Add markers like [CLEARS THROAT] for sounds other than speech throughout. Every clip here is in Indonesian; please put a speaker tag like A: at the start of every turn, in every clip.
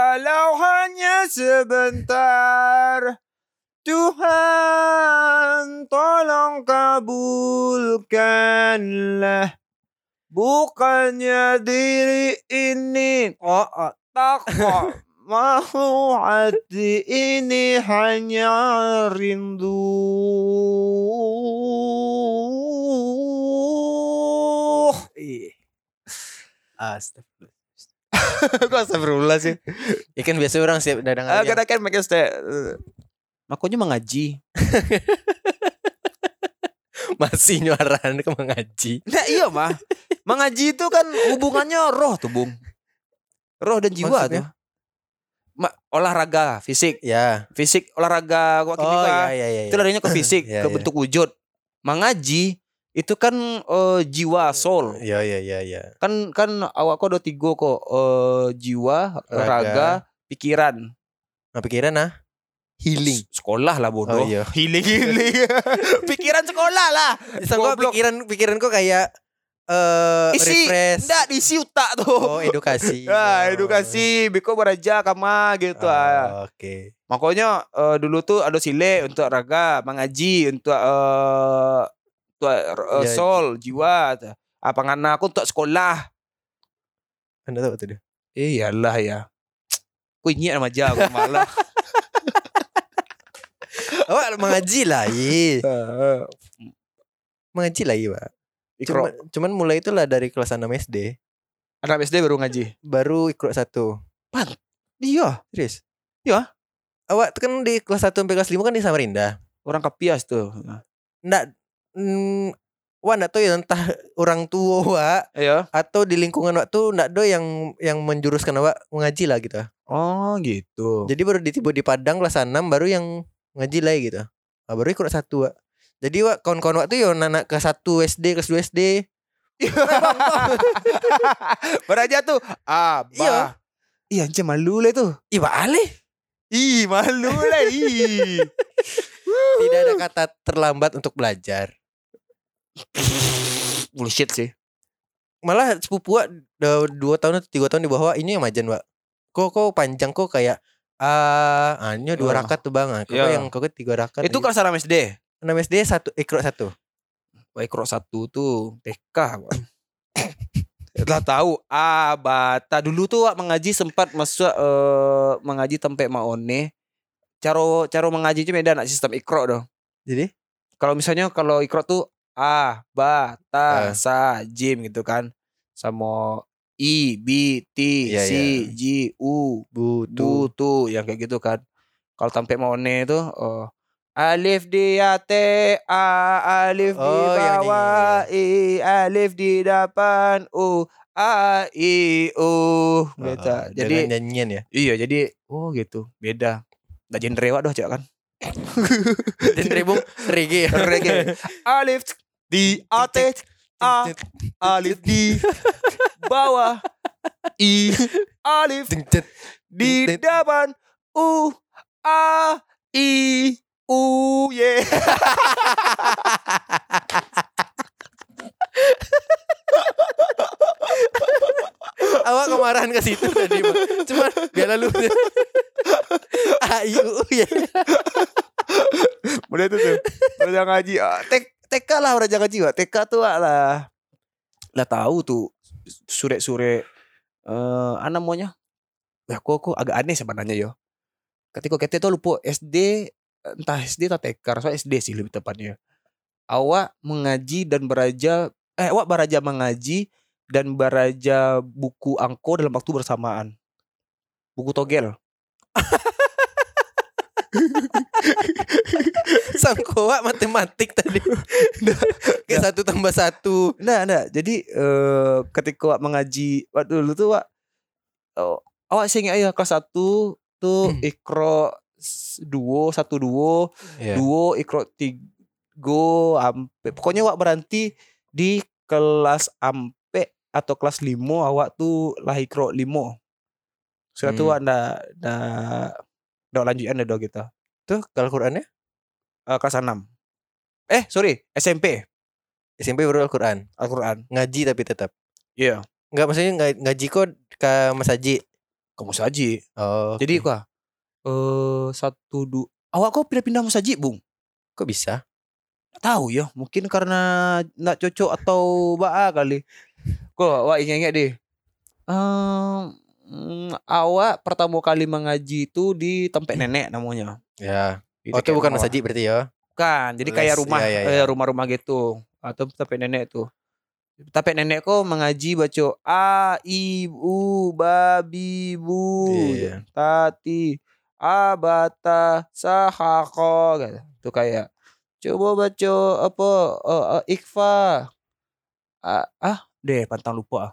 A: Walau hanya sebentar Tuhan tolong kabulkanlah Bukannya diri ini kok tak
B: [LAUGHS]
A: kok Mau hati ini hanya rindu
B: Ih. Astagfirullah.
A: [LAUGHS] Kok astagfirullah sih
B: Ya kan biasa orang siap dadang
A: Ah,
B: aja.
A: Kita kan make stay
B: Makanya mengaji. Masih nyuaran ke mengaji.
A: Nah iya mah Mengaji itu kan hubungannya roh tuh Bung Roh dan jiwa
B: Maksudnya?
A: tuh Ma- Olahraga fisik
B: Ya.
A: Fisik olahraga kok
B: Oh ya ya ya.
A: Itu larinya ke fisik
B: Ya,
A: Ke
B: ya.
A: bentuk wujud Mengaji Itu kan eh, jiwa soul
B: Ya ya ya ya.
A: Kan kan awak kok ada tiga kok eh, Jiwa, raga, pikiran
B: Nah, pikiran ah. Healing.
A: S- Sekolah lah bodoh
B: iya.
A: Healing healing [LAUGHS] Pikiran sekolah lah [LAUGHS]
B: Bisa gua
A: Goblok.
B: pikiran pikiran kok kayak eh
A: Isi
B: refresh.
A: Nggak diisi utak tuh
B: Oh,
A: [LAUGHS]
B: edukasi.
A: Ya,
B: Oh.
A: edukasi Biko beraja kama gitu ah.
B: Oh, Oke.
A: Makanya eh, dulu tuh ada sile untuk raga, mengaji untuk eh untuk eh,
B: Ya.
A: soul, jiwa. tu. Apa ngana aku untuk sekolah.
B: Anda tahu tuh dia.
A: Eh iyalah ya. Ku ingat sama aja aku [LAUGHS] malah.
B: Awak mengaji Oh, lah,
A: [LAUGHS]
B: iya.
A: Ah,
B: Mengaji lah, iya, Pak.
A: Ikro.
B: Cuman, cuman mulai itulah dari kelas 6 SD,
A: Anak SD baru ngaji.
B: baru ikro satu.
A: Iya,
B: Serius?
A: Iya.
B: Awak tuh kan di kelas 1 sampai kelas 5 kan di Samarinda.
A: orang kepias tuh.
B: Nggak mm, Wah, nggak tahu ya entah orang tua wak
A: Iya.
B: atau di lingkungan waktu nggak do yang yang menjuruskan awak mengaji lah gitu.
A: Oh, gitu.
B: Jadi baru ditibu di Padang kelas 6 baru yang ngaji lah gitu. Ah, baru ikut satu wak. Jadi wak kawan-kawan waktu yo anak kelas 1 SD, kelas 2 SD.
A: beraja Ah, tuh. Abah.
B: Iya.
A: Iya, anjir malu lah tuh.
B: Ih, ale.
A: Ih, malu lah. [LAUGHS] Ih.
B: Tidak ada kata terlambat untuk belajar.
A: Bullshit sih.
B: Malah sepupu wak da- dua tahun atau tiga tahun di bawah wak, ini yang majan wak. Kok kok panjang kok kayak ah, ah, ini dua
A: Iya.
B: rakaat tuh bang. Ah, Kok
A: Iya.
B: yang kok tiga rakaat. gitu.
A: Itu kelas 6 SD.
B: 6 SD satu ikro satu.
A: Wah, ikro satu tuh TK. Wak. Lah tahu abata dulu tuh Wak, mengaji sempat masuk eh, mengaji tempe maone. Caro caro mengaji itu beda nak sistem ikro dong.
B: Jadi
A: Kalau misalnya kalau ikro tuh a ba ta
B: Ah.
A: sa jim gitu kan. Sama i b t
B: Iya,
A: c
B: iya.
A: j u tuh
B: butuh
A: tuh yang kayak gitu kan kalau sampai maone itu oh, alif di ate a alif di
B: Oh, yang
A: bawah i alif di depan u a i u gitu
B: Ah,
A: jadi
B: dengan nyanyian ya.
A: iya jadi oh gitu beda Nggak
B: Iya.
A: genre wak doh cak
B: [LAUGHS]
A: kan
B: Dan ribung reggae. ya. [LAUGHS]
A: reggae alif di ate a alif di bawah i
B: [LAUGHS]
A: alif di
B: Tit.
A: depan u a i u ye
B: Awak kemarahan ke situ tadi, Bang. Cuman biar lalu. Ayu
A: [LAUGHS]
B: ya.
A: mulai itu tuh raja ngaji ah, tek TK lah raja ngaji wah TK tuh Wak, lah lah tahu tuh sure sure eh anak maunya ya aku aku agak aneh sebenarnya yo ketika kita tuh lupa SD entah SD atau E TK rasa SD sih lebih tepatnya awak mengaji dan beraja eh awak beraja mengaji dan beraja buku angko dalam waktu bersamaan buku togel
B: Sangkoa matematik
A: [LAUGHS]
B: tadi. Kayak satu tambah satu.
A: Nah, nah. Jadi eh ketika awak mengaji waktu dulu tuh awak oh, awak sing ayo kelas 1 tuh ikro s- duo satu duo,
B: Ya.
A: duo ikro tigo ampe. Pokoknya awak berhenti di kelas ampe atau kelas limo awak tuh lah ikro limo. Sudah tuh
B: Hmm.
A: awak ndak ndak ndak lanjutan dah gitu.
B: Tuh kalau ya? Qurannya
A: Eh, kelas 6. Eh, sorry, SMP
B: SMP baru Al-Quran.
A: Al-Qur'an.
B: Ngaji tapi tetap.
A: Iya.
B: Enggak maksudnya nga- ngaji kok ke Mas Haji.
A: kamu saji.
B: Oh.
A: Jadi kok eh satu dua awak kok pindah-pindah musaji, Bung?
B: kok bisa?
A: Tak Tahu ya, mungkin karena nak cocok atau baa kali. Kok awak ingat-ingat deh. Em, mm, awak pertama kali mengaji itu di tempat nenek namanya.
B: Ya.
A: Di
B: Oh, itu
A: dekat
B: bukan
A: rumah.
B: masjid berarti ya.
A: Bukan, jadi kayak
B: Les,
A: rumah
B: ya, ya,
A: eh, rumah-rumah gitu atau tempat nenek tuh. Tapi nenek kok mengaji baca a i u ba bi bu
B: Iya.
A: tati abata sahako gitu. Tuh kayak coba baca apa eh, eh, ikfa ah, ah deh pantang lupa ah.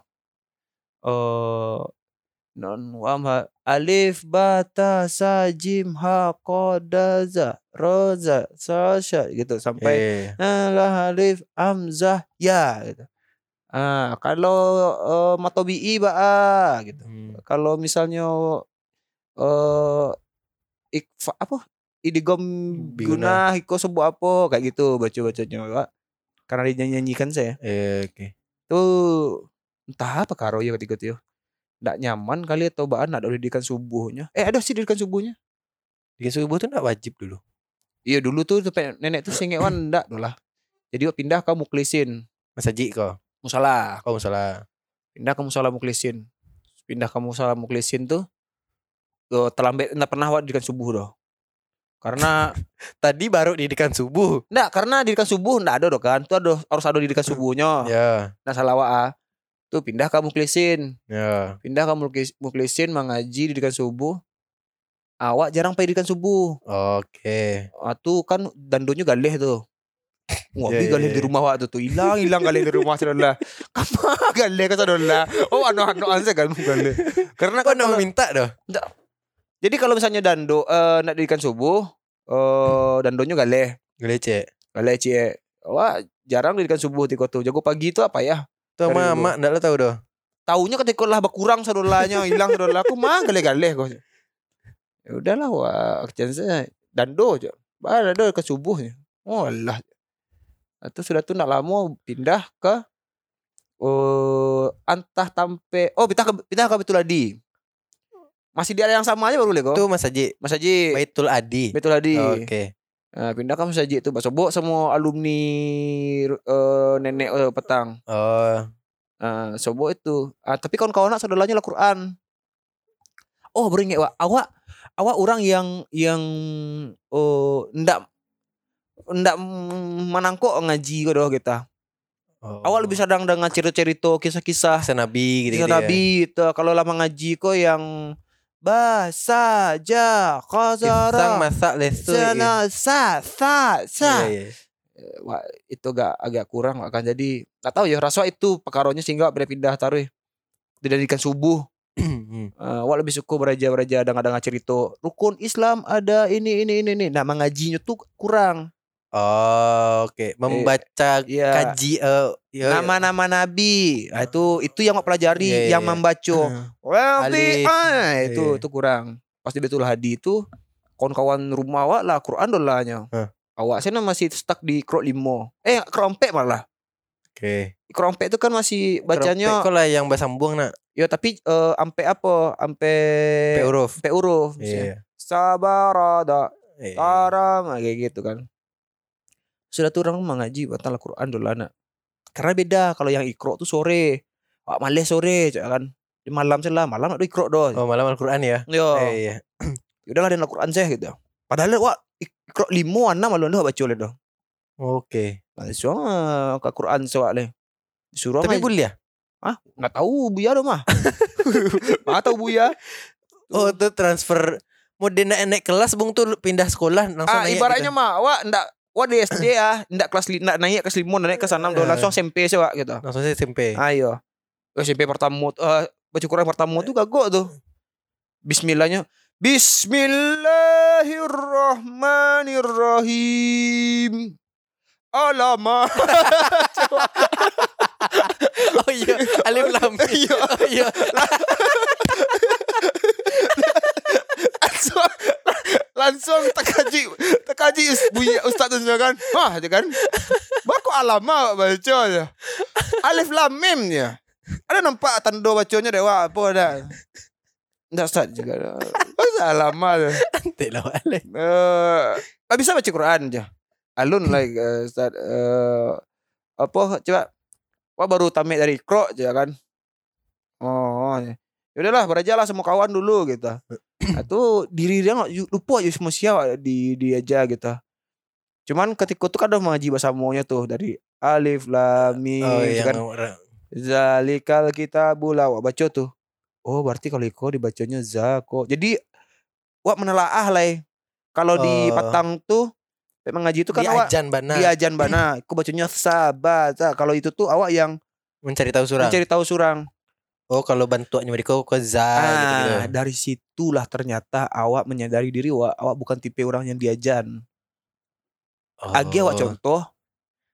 A: Eh non wam ha- alif bata sa jim ha ko da za ro za sa sha gitu sampai
B: Eh.
A: Nah, lah alif amzah ya gitu. Ah, kalau eh, matobi'i ba ah, gitu.
B: Hmm.
A: Kalau misalnya eh ikfa apa? Idigom
B: Biguna.
A: guna hiko sebuah apa kayak gitu baca-bacanya Pak. Karena dinyanyikan saya.
B: Eh, oke.
A: Tuh entah apa karo ya ketika itu. Ndak nyaman kali atau baan ada didikan subuhnya. Eh ada sih didikan subuhnya.
B: Di subuh tuh enggak wajib dulu.
A: Iya dulu tuh sampai nenek tuh singewan ndak dulu lah. Jadi wak pindah kamu klisin
B: Masjid kok.
A: musala.
B: Kau salah.
A: pindah ke musola muklisin pindah ke musola muklisin tuh tuh terlambat nggak pernah wak dirikan subuh doh karena
B: Tadi baru didikan subuh.
A: enggak karena dirikan subuh enggak ada doh kan tuh ada harus ada dirikan subuhnya
B: Ya.
A: nah salah wak ah. tuh pindah ke muklisin
B: Ya.
A: pindah ke muklis- muklisin mengaji dirikan subuh awak jarang pake dirikan subuh
B: Oke.
A: Ah, tuh kan dandonya galeh tuh Ngopi
B: Iya, iya,
A: galeh di
B: iya.
A: rumah wak tuh tuh hilang hilang galeh di rumah saudara. Kamu galeh ke saudara. Oh anu anu anu saya galeh galeh. Karena kan
B: Kau
A: kalau-
B: nak minta dah.
A: Jadi kalau misalnya dando eh nak dirikan subuh, eh dandonya galeh,
B: Gelecek.
A: galeh cie. Wah, jarang dirikan subuh tiko tuh. Jago pagi itu apa ya?
B: Tuh
A: Dari
B: sama
A: dulu.
B: mak enggak lah tahu dah.
A: Taunya ketika lah berkurang sadolanya, hilang sadola. Aku mah galeh-galeh kok. Ya udahlah, wah kerjaan saya dando aja. Bah, dando ke subuhnya. Oh lah. Itu sudah tuh nak lama pindah ke eh antah tampe. Oh, pindah ke pindah ke Betuladi. Masih di area yang sama aja baru lego.
B: Tuh Masjid
A: Mas Haji,
B: Baitul Adi.
A: Betuladi.
B: Oke.
A: Nah, pindah kamu saja itu Pak Sobok semua alumni eh, nenek eh, petang.
B: Oh.
A: Nah, Sobok itu. Ah, tapi kawan-kawan nak saudaranya lah Quran. Oh, baru ingat Wak. Awak awak orang yang yang oh ndak ndak menangkok ngaji kau doh kita. Awak lebih sadang dengan cerita-cerita kisah-kisah
B: Kisah oh. Nabi gitu.
A: Kisah Nabi itu kalau lama ngaji kok yang bahasa ja
B: Sang
A: khazara
B: masak lesu. Iya,
A: sana sa sa sa
B: iya. [CLEARS THROAT]
A: Wah, itu agak agak kurang wak, kan jadi nggak tahu ya rasa itu pekaronya sehingga pindah pindah taruh didadikan subuh Eh,
B: Hmm.
A: wak lebih suku beraja beraja ada ada cerita rukun Islam ada ini ini ini ini nah mengajinya tuh kurang
B: Oh, oke. Membaca
A: ya
B: kaji eh ya,
A: Iya. nama-nama nabi nah, itu itu yang wak pelajari
B: Iya, iya,
A: yang
B: iya.
A: membaca
B: Eh,
A: Rabi'ah. itu
B: Iya.
A: itu kurang pas di Betul Hadi itu kawan-kawan rumah awak lah Quran dolanya
B: Hah.
A: awak sana masih stuck di krok limo eh krok empat malah
B: Oke.
A: Kerompek itu kan masih bacanya
B: Keropek kau lah yang bahasa sambung nak.
A: Ya tapi eh, ampe apa? Ampe
B: Pe
A: Iya.
B: huruf.
A: ampe huruf. misalnya.
B: Iya.
A: Sabarada
B: Iya.
A: taram ah, kayak gitu kan. Sudah tuh orang mengaji batal Al-Qur'an dulu anak. Karena beda kalau yang ikro tuh sore. Wak malih sore cak kan. Di malam sih lah, malam itu ikro doh.
B: Oh, malam Al-Quran ya.
A: Yo, ya
B: Iya, iya.
A: udahlah ada Al-Qur'an saya gitu. Padahal wak ikro limo anak malu dah baca oleh doh.
B: Oke.
A: Malah suang ke Quran soalnya. Disuruh
B: Tapi
A: ngaji.
B: boleh ya?
A: nggak tahu buya doh mah.
B: [LAUGHS]
A: Mah tahu buya.
B: Oh, itu transfer Mode nak naik kelas bung tuh pindah sekolah langsung
A: Ah,
B: naik
A: ibaratnya
B: gitu.
A: mah wak ndak wak di SD ya, ndak kelas li, ndak naik kelas 5, naik kelas 6 udah
B: Eh.
A: langsung SMP sih wak gitu.
B: langsung saya SMP.
A: Ayo. Eh, SMP pertama tuh eh baca Quran pertama tuh kagok tuh. Bismillahnya Bismillahirrahmanirrahim. Alamak.
B: [LAUGHS]
A: [LAUGHS]
B: Oh iya, alif
A: [LAUGHS]
B: lam. Iya, iya.
A: langsung langsung tekaji tekaji us- bunyi ustaz tu sendiri kan wah dia kan baku alama baca je alif lam mim je ada nampak tanda bacanya dewa apa dah Enggak Ustaz juga. Masa lama tu.
B: Nanti lah wale.
A: Eh, tak bisa baca Quran je.
B: Hmm.
A: Alun like eh, Ustaz eh, apa coba Wah baru tamat dari Qra je kan. Oh. Yaudahlah berajalah sama kawan dulu gitu. Itu diri dia nak ju- lupa je semua siapa di dia aja gitu. Cuman ketika tu kan dah mengaji bahasa maunya tuh dari alif lam mim
B: Oh
A: tu
B: iya.
A: kan. Zalikal kitabul la. Wak baca tuh. Oh berarti kalau iko dibacanya zako. Jadi wak menelaah lah. eh. Kalau di
B: Oh. nah.
A: patang tuh memang ngaji itu kan awak
B: Diajan bana
A: dia ajan bana. Aku bacanya sabata. Kalau itu tuh awak yang
B: mencari tahu surang.
A: mencari tahu surang.
B: Oh kalau bantuannya mereka ke za
A: Ah,
B: gitu gitu.
A: dari situlah ternyata awak menyadari diri wak awak bukan tipe orang yang diajan. Ah, Agi
B: Oh.
A: awak contoh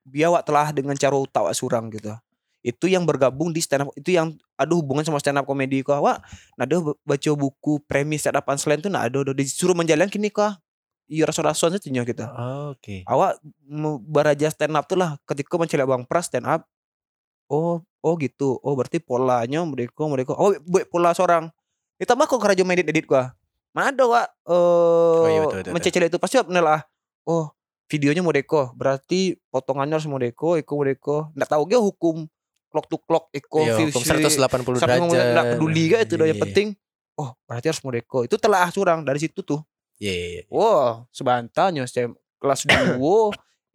A: biar awak telah dengan cara utak awak surang gitu. Itu yang bergabung di stand up itu yang ada hubungan sama stand up komedi kok awak. Nah, ada baca buku premis stand up punchline tuh nah ada ada disuruh menjalankan kini kok. Iya rasul-rasul itu kita.
B: Oh, Oke.
A: awak me- beraja stand up tuh lah ketika mencari bang pras stand up oh oh gitu oh berarti polanya mereka mereka oh buat pola seorang Eh, ditambah kok kerja main edit edit gua mana ada wak eh
B: iya, betul, betul,
A: mencecil itu pasti wak menelaah oh videonya modeko berarti potongannya harus modeko eko modeko nggak tahu dia hukum clock to clock eko
B: Iya, hukum 180 derajat.
A: nggak peduli gak itu dah yang
B: Iya.
A: penting oh berarti harus modeko itu telah curang dari situ tuh
B: Iya iya. iya.
A: Wah, sebantahnya SM, kelas [COUGHS] 2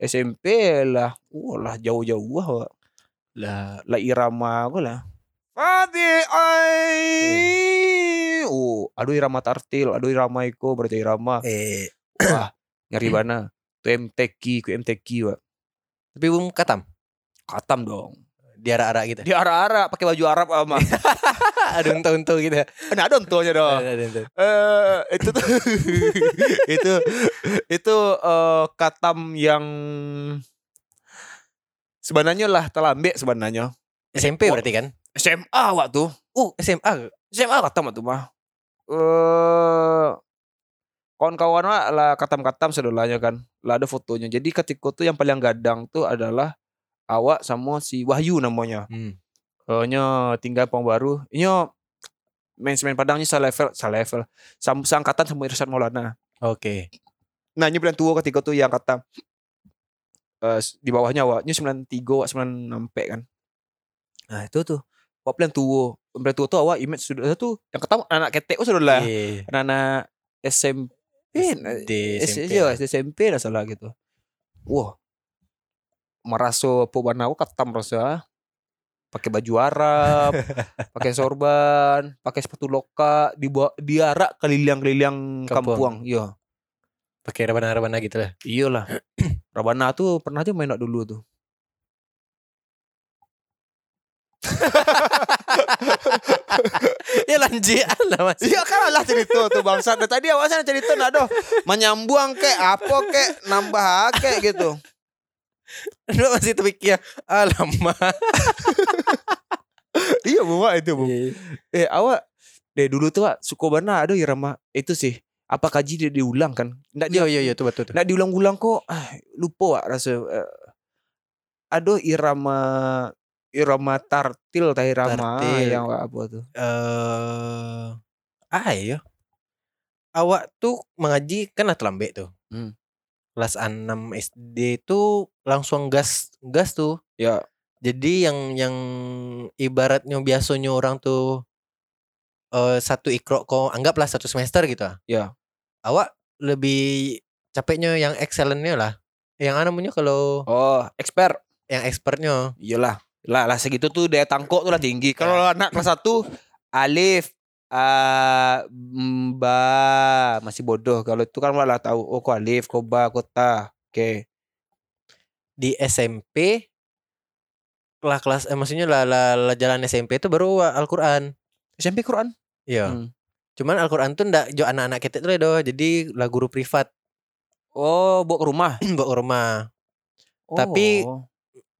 A: SMP lah. Wah lah jauh-jauh wah. Lah lah irama aku lah. Fadi ai. Oh, aduh irama tartil, aduh irama iko berarti irama.
B: Eh,
A: Wah, nyari bana. Tu MTQ, ku MTQ wak.
B: tapi belum katam.
A: Katam dong. Iya.
B: Diarak-arak
A: [LAUGHS]
B: gitu.
A: Di ara-ara pakai baju Arab ama.
B: Ada unta-unta gitu.
A: Nah, ada untuknya dong.
B: Ada unta.
A: Eh itu tuh [LAUGHS] itu itu eh, katam yang sebenarnya lah telambe sebenarnya
B: SMP berarti kan?
A: SMA waktu
B: Uh, SMA.
A: SMA katam waktu mah eh kawan-kawan wak lah katam-katam sedulanya kan lah ada fotonya jadi ketika tuh yang paling gadang tuh adalah awak sama si Wahyu namanya
B: Hmm.
A: Oh, nyo tinggal pong baru. Nyo main-main Padangnya selevel, selevel. Sam seangkatan sama Irsyad Maulana.
B: Oke.
A: Nah, nyo bilang tua ketika tuh yang kata eh, s- di bawahnya wak, nyo 93 wak 96 pe kan. Nah, itu tuh. Wak bilang tua. Bilang tua tuh awak image sudah tuh yang kata anak ketek oh, sudah lah.
B: Iya.
A: Anak SMP. nah,
B: SD, SMP.
A: SMP. SMP lah salah gitu. Wah. Merasa apa bana aku katam rasa. Pakai baju Arab,
B: [LAUGHS]
A: pakai sorban, pakai sepatu loka, dibawa diarak keliling-keliling kampung.
B: Kampung.
A: Iya.
B: Pakai rebana-rebana gitu lah.
A: Iyalah. Rabana tuh pernah aja main nak dulu tuh.
B: [LAUGHS] ya lanjian lah mas.
A: [LAUGHS] Iya kan lah cerita tuh bangsa. Nah, tadi awalnya cerita nak doh menyambuang kek apa kek nambah kek gitu.
B: Lu masih terpikir Alamak
A: iya bawa itu bu. Eh awak deh dulu tuh Wak, Sukobana ada irama itu sih. Apa kaji dia diulang kan? Nggak dia
B: Iya iya iya tuh betul tuh
A: nggak diulang-ulang kok. Ah, lupa Wak rasa. eh, ada irama irama tartil tah irama
B: Tartil.
A: yang Wak, apa tuh?
B: Eh, Ayo Awak tuh mengaji kan lah telambe tuh
A: Hmm.
B: Kelas 6 SD tuh langsung gas gas tuh
A: Ya.
B: Jadi yang yang ibaratnya biasanya orang tuh eh satu ikro kok anggaplah satu semester gitu ah.
A: Ya.
B: Awak lebih capeknya yang excellentnya lah. Yang namanya kalau
A: Oh, expert.
B: yang expertnya
A: Iyalah. Lah lah segitu tuh daya tangkuk tuh lah tinggi. Kalau anak kelas 1 alif eh mba masih bodoh kalau itu kan Wak lah tahu oh kok alif kok ba kok ta oke
B: di SMP lah kelas eh, maksudnya lah, lah, lah jalan SMP itu baru wa- Al-Qur'an.
A: SMP Quran
B: Iya.
A: Hmm.
B: Cuman Al-Qur'an tuh ndak jo anak-anak kita tuh doh. Jadi lah guru privat [CLEARS THROAT]
A: oh bawa ke rumah
B: bawa ke rumah. Tapi-
A: Oh.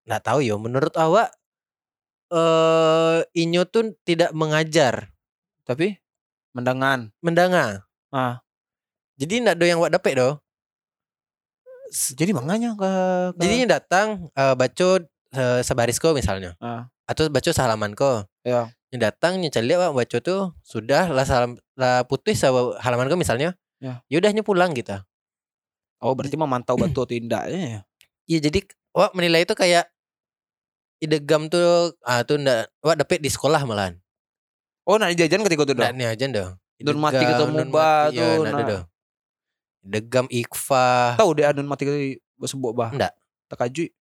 B: Ndak tahu yo menurut awak eh Inyo tuh tidak mengajar
A: tapi mendangan
B: mendanga.
A: Ah.
B: Jadi ndak do yang wak dapet doh.
A: jadi manganya ke, ke
B: Jadi datang eh baca eh, sebarisko misalnya.
A: Ah.
B: Atau baca sehalaman ko.
A: Ya.
B: yang datang nyecali wak baca tuh sudah lah salam lah putih sama halaman kau misalnya
A: Ya.
B: yaudahnya pulang gitu
A: Oh berarti memantau batu atau indahnya ya.
B: Iya jadi wah menilai itu kayak idegam tuh ah tuh ndak wah dapet di sekolah malahan.
A: Oh nak jajan ketika itu
B: Ndak
A: dong.
B: nih aja ndak.
A: Dun mati ketemu ba
B: batu
A: tuh, nah.
B: Nah. Idegam
A: [LAUGHS]
B: ikfa.
A: Tahu deh anun mati kali sebok bah.
B: Ndak.
A: Tekaju.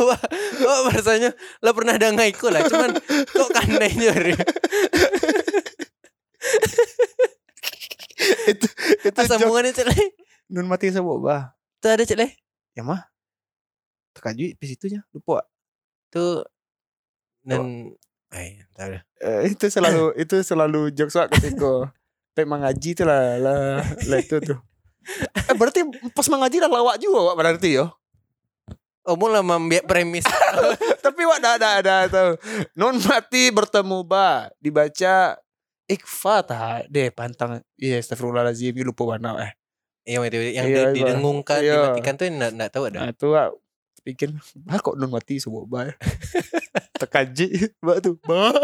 B: Wah, wah rasanya lo pernah ada ngaiku lah cuman kok [LAUGHS] kandainya Ri?
A: Itu
B: Apa sambungannya cek leh?
A: Nun mati sebok bah.
B: Tuh ada cek leh.
A: Ya mah. Tekaju di situnya. Lupa.
B: Tuh Oh. dan ah, iya, Ay, tahu dah.
A: Eh, itu [LAUGHS] selalu itu selalu jokes wak ketika pek mengaji tuh lah lah lah itu tuh. Eh, berarti pas mengaji lah lawak juga wak berarti yo.
B: Oh, mula membiak premis.
A: Tapi wak dah dah dah tahu. Nun mati bertemu ba dibaca Ikfa tah deh pantang Iya astagfirullahaladzim Ih, Lupa warna eh
B: Yang itu yang
A: Iya,
B: di-
A: iya.
B: didengungkan,
A: Iya.
B: dimatikan tuh ndak ndak tahu ada.
A: Nah itu lah Pikir Bah kok non mati sebuah bah [LAUGHS] Tekaji Bah tuh Bah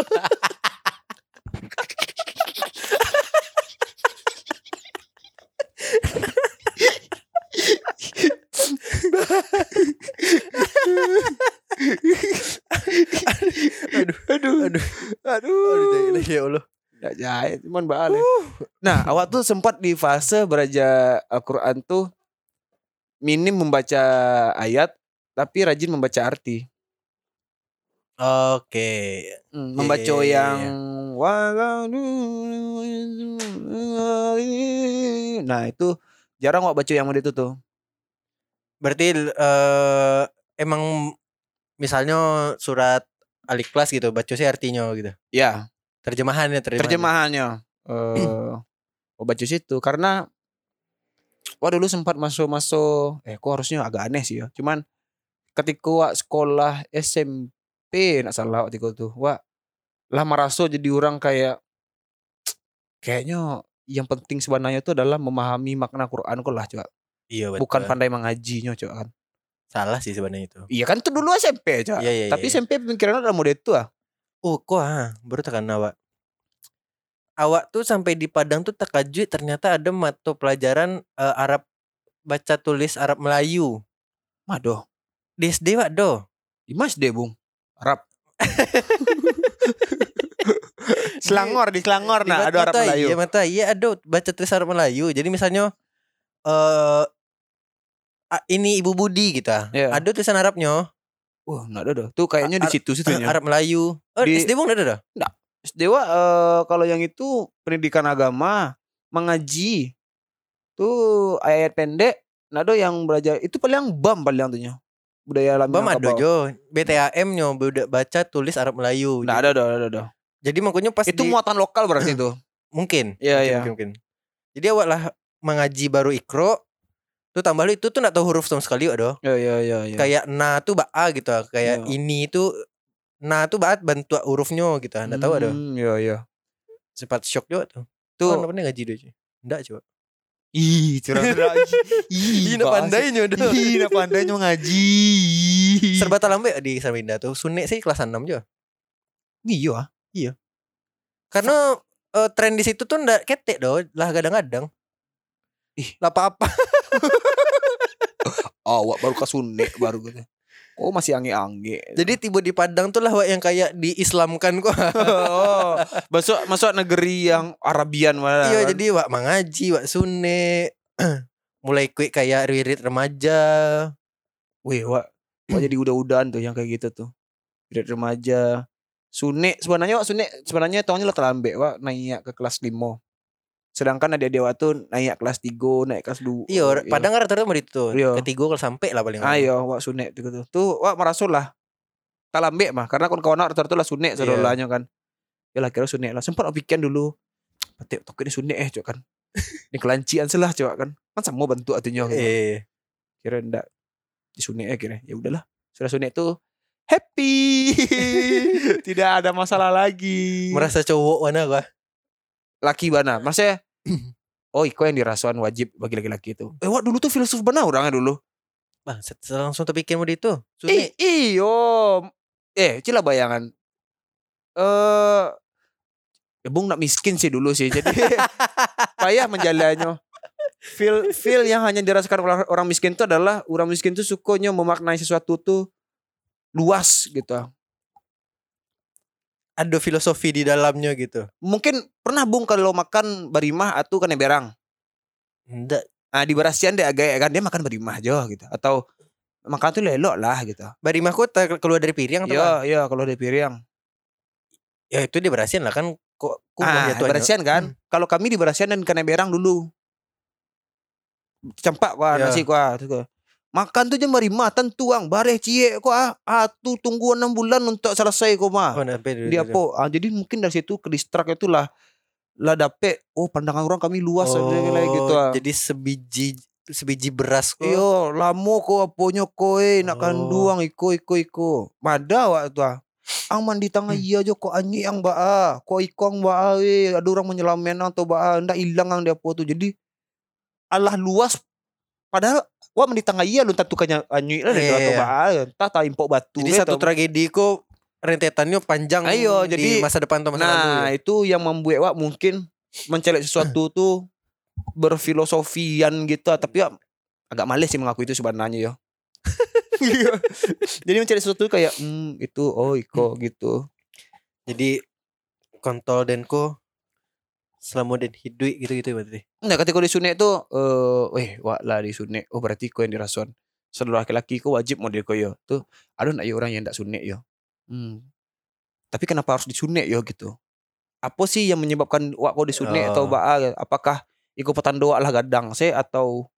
A: aduh, [LAUGHS] aduh, aduh, aduh,
B: ya Allah.
A: Nggak jahit, cuman baal ya. Nah, awak tuh sempat di fase beraja Al-Quran tuh minim membaca ayat, tapi rajin membaca arti.
B: Oke.
A: Hmm,
B: Iya,
A: membaca
B: iya, iya,
A: yang
B: iya.
A: Nah, itu jarang awak baca yang itu tuh.
B: Berarti eh, emang misalnya surat Al-Ikhlas gitu, baca sih artinya gitu.
A: Ya,
B: Terjemahannya terjemahannya.
A: terjemahannya. Eh, awak baca situ karena Wah dulu sempat masuk-masuk Eh kok harusnya agak aneh sih ya Cuman ketika wak sekolah SMP nak salah waktu itu tuh wak lah meraso jadi orang kayak kayaknya yang penting sebenarnya itu adalah memahami makna Quran kok lah coba
B: Iya, betul.
A: bukan pandai mengajinya coba kan
B: salah sih sebenarnya itu.
A: iya kan itu dulu SMP coba
B: Iya, iya,
A: tapi
B: iya, iya.
A: SMP pemikirannya udah model itu ah
B: Oh, kok ah, baru tekan awak. Awak tuh sampai di Padang tuh terkejut ternyata ada mata pelajaran eh, Arab baca tulis Arab Melayu.
A: madoh
B: Di SD wak do.
A: Dimas deh bung Arab [LAUGHS] Selangor di Selangor
B: Di
A: nah
B: Mat-
A: ada Arab
B: Mata,
A: Melayu
B: Iya mata iya ada baca tulis Arab Melayu. Jadi misalnya eh a- ini Ibu Budi gitu. ah.
A: Iya.
B: Ada tulisan Arabnya,
A: wah nggak ada dah tuh kayaknya di
B: Ar-
A: situ situnya
B: Arab Melayu. Oh,
A: Gitu ya? Di-
B: SD Bung ada dah.
A: Dewa eh, kalau yang itu pendidikan agama mengaji tuh ayat pendek nado yang belajar itu paling bam paling tuhnya budaya alam
B: Bam ada jo. BTAM nyo budak baca tulis Arab Melayu. gitu.
A: nggak Nah, ada ada ada ada
B: Jadi makanya pas
A: itu
B: di-
A: muatan lokal berarti itu
B: mungkin.
A: Iya,
B: mungkin,
A: iya.
B: mungkin, mungkin. Jadi awak lah mengaji baru ikro tuh tambah lu itu tuh nggak tahu huruf sama sekali ada.
A: ya ya ya, ya.
B: Kayak na tuh ba a gitu, ah. kayak
A: Iya.
B: ini tuh na tuh ba bantu hurufnya gitu. ah. Nggak tahu ada.
A: Hmm, ya ya
B: Sempat shock juga tuh.
A: tuh
B: Tuh. Oh, pernah ngaji dia cuy. Enggak coba.
A: ih curang-curang. [LAUGHS] ih
B: Ih, nak
A: bahasa.
B: pandainya dah.
A: ih nak pandainya ngaji
B: Serba terlambat di Samarinda tuh. Sunek sih kelas 6 juga.
A: iya ah.
B: Karena eh, tren di situ tuh ndak ketek doh, lah kadang-kadang.
A: Ih.
B: Lah apa-apa.
A: [LAUGHS] awak baru kasunek baru gitu oh masih ange-ange
B: Jadi tiba di Padang tuh lah wak yang kayak diislamkan kok.
A: [LAUGHS] oh, masuk masuk negeri yang Arabian mana? kan?
B: Iya, jadi wak mengaji, wak sunek. [CLEARS THROAT] Mulai kuik kayak ririt remaja.
A: wih, wak, wak jadi udah-udahan tuh yang kayak gitu tuh. Grade remaja. Sunik sebenarnya wak sunik sebenarnya tahunnya lah terlambat wak naik ke kelas 5. Sedangkan adik dewa tuh naik kelas 3, naik kelas 2.
B: Iya, Padang kan rata-rata mau
A: Oh,
B: itu.
A: Iya. Ah,
B: Ketiga kalau sampai lah paling. lama.
A: Ayo wak sunik tuh gitu. Tuh wak merasul lah. Terlambat mah karena kawan-kawan wak rata-rata lah sunik
B: Iya.
A: saudaranya kan. Ya lah kira sunik lah. Sempat aku pikiran dulu. Petik tokek ini sunik eh cok kan. [LAUGHS] Ini kelancian selah cok kan. Kan semua bentuk atunya. gitu.
B: Eh,
A: kira ndak disunik ya kira ya udahlah sudah sunik tuh happy tidak ada masalah lagi Iya.
B: merasa cowok mana gua.
A: laki bana. Maksudnya oh iko yang dirasuan wajib bagi laki-laki itu. Eh wak dulu tuh filsuf bana orangnya dulu.
B: Bang, set- langsung terpikir mau itu.
A: Ih,
B: Suni.
A: iyo. Eh, cila bayangan. Eh ya Bung nak miskin sih dulu sih.
B: [LAUGHS]
A: Jadi payah menjalannya. Feel feel yang hanya dirasakan orang, orang miskin itu adalah orang miskin itu sukonya memaknai sesuatu tuh luas gitu.
B: Ada filosofi di dalamnya gitu.
A: Mungkin pernah Bung kalau makan barimah atau kena berang.
B: Ndak.
A: Nah, di Barasian dia agak kan dia makan barimah aja gitu atau makan tuh lelok lah gitu.
B: Barimahku ter- keluar dari piring atau apa?
A: Iya, iya kalau di piring.
B: Ya itu dia berhasil lah kan kok kok
A: Ah, di Barasian kan.
B: Hmm.
A: Kalau kami di Barasian dan kena berang dulu. Cempak kuah
B: Ya.
A: nasi kuah. tu kuah. Makan tu je mari matan tuang bareh cie kuah. Atu ah, tunggu 6 bulan untuk selesai kau mah.
B: Oh, sampai dulu-
A: Dia
B: dulu.
A: apa? Ah, jadi mungkin dari situ ke distract itulah lah dapet oh pandangan orang kami luas
B: Oh,
A: ada lagi gitu Iya. ah.
B: Jadi sebiji sebiji beras kok.
A: Iyo, lamo ko aponyo ko eh, nak
B: Oh.
A: kanduang iko iko iko. Mada wak tu ah. Ang mandi tangan
B: Hmm.
A: iya jo ko anyi ang baa, ko ikong baa eh, ada orang menyelamen ang to baa, ndak hilang ang dia po tu. Jadi Allah luas padahal wak mandi tangan iya lu tatukannya anyi lah dia
B: Iya,
A: atau
B: iya.
A: baa, entah ta impok batu.
B: Jadi
A: eh,
B: satu
A: tau-
B: tragedi kok rentetannya
A: Ayo,
B: panjang
A: Ah,
B: di
A: iya, jadi-
B: masa depan atau masa
A: Nah,
B: lalu. ya?
A: itu yang membuat wak mungkin mencelik sesuatu tuh berfilosofian gitu ah. tapi wak agak males sih mengaku itu sebenarnya
B: [LAUGHS]
A: yo. Iya. Jadi mencari sesuatu kayak hmm, itu oh iko gitu.
B: Jadi kontol dan ko selama dan hidui gitu-gitu ya berarti.
A: Nah, ketika di sunek tuh eh weh wak lah di sunek. Oh berarti kau yang dirasuan. Seluruh laki-laki kau wajib model kau yo. Tuh ada nak yo orang yang tidak sunek yo. Hmm. Tapi kenapa harus disunek yo gitu? Apa sih yang menyebabkan wak kau disunek atau
B: Oh.
A: baa? Apakah iko petanda wak lah gadang se atau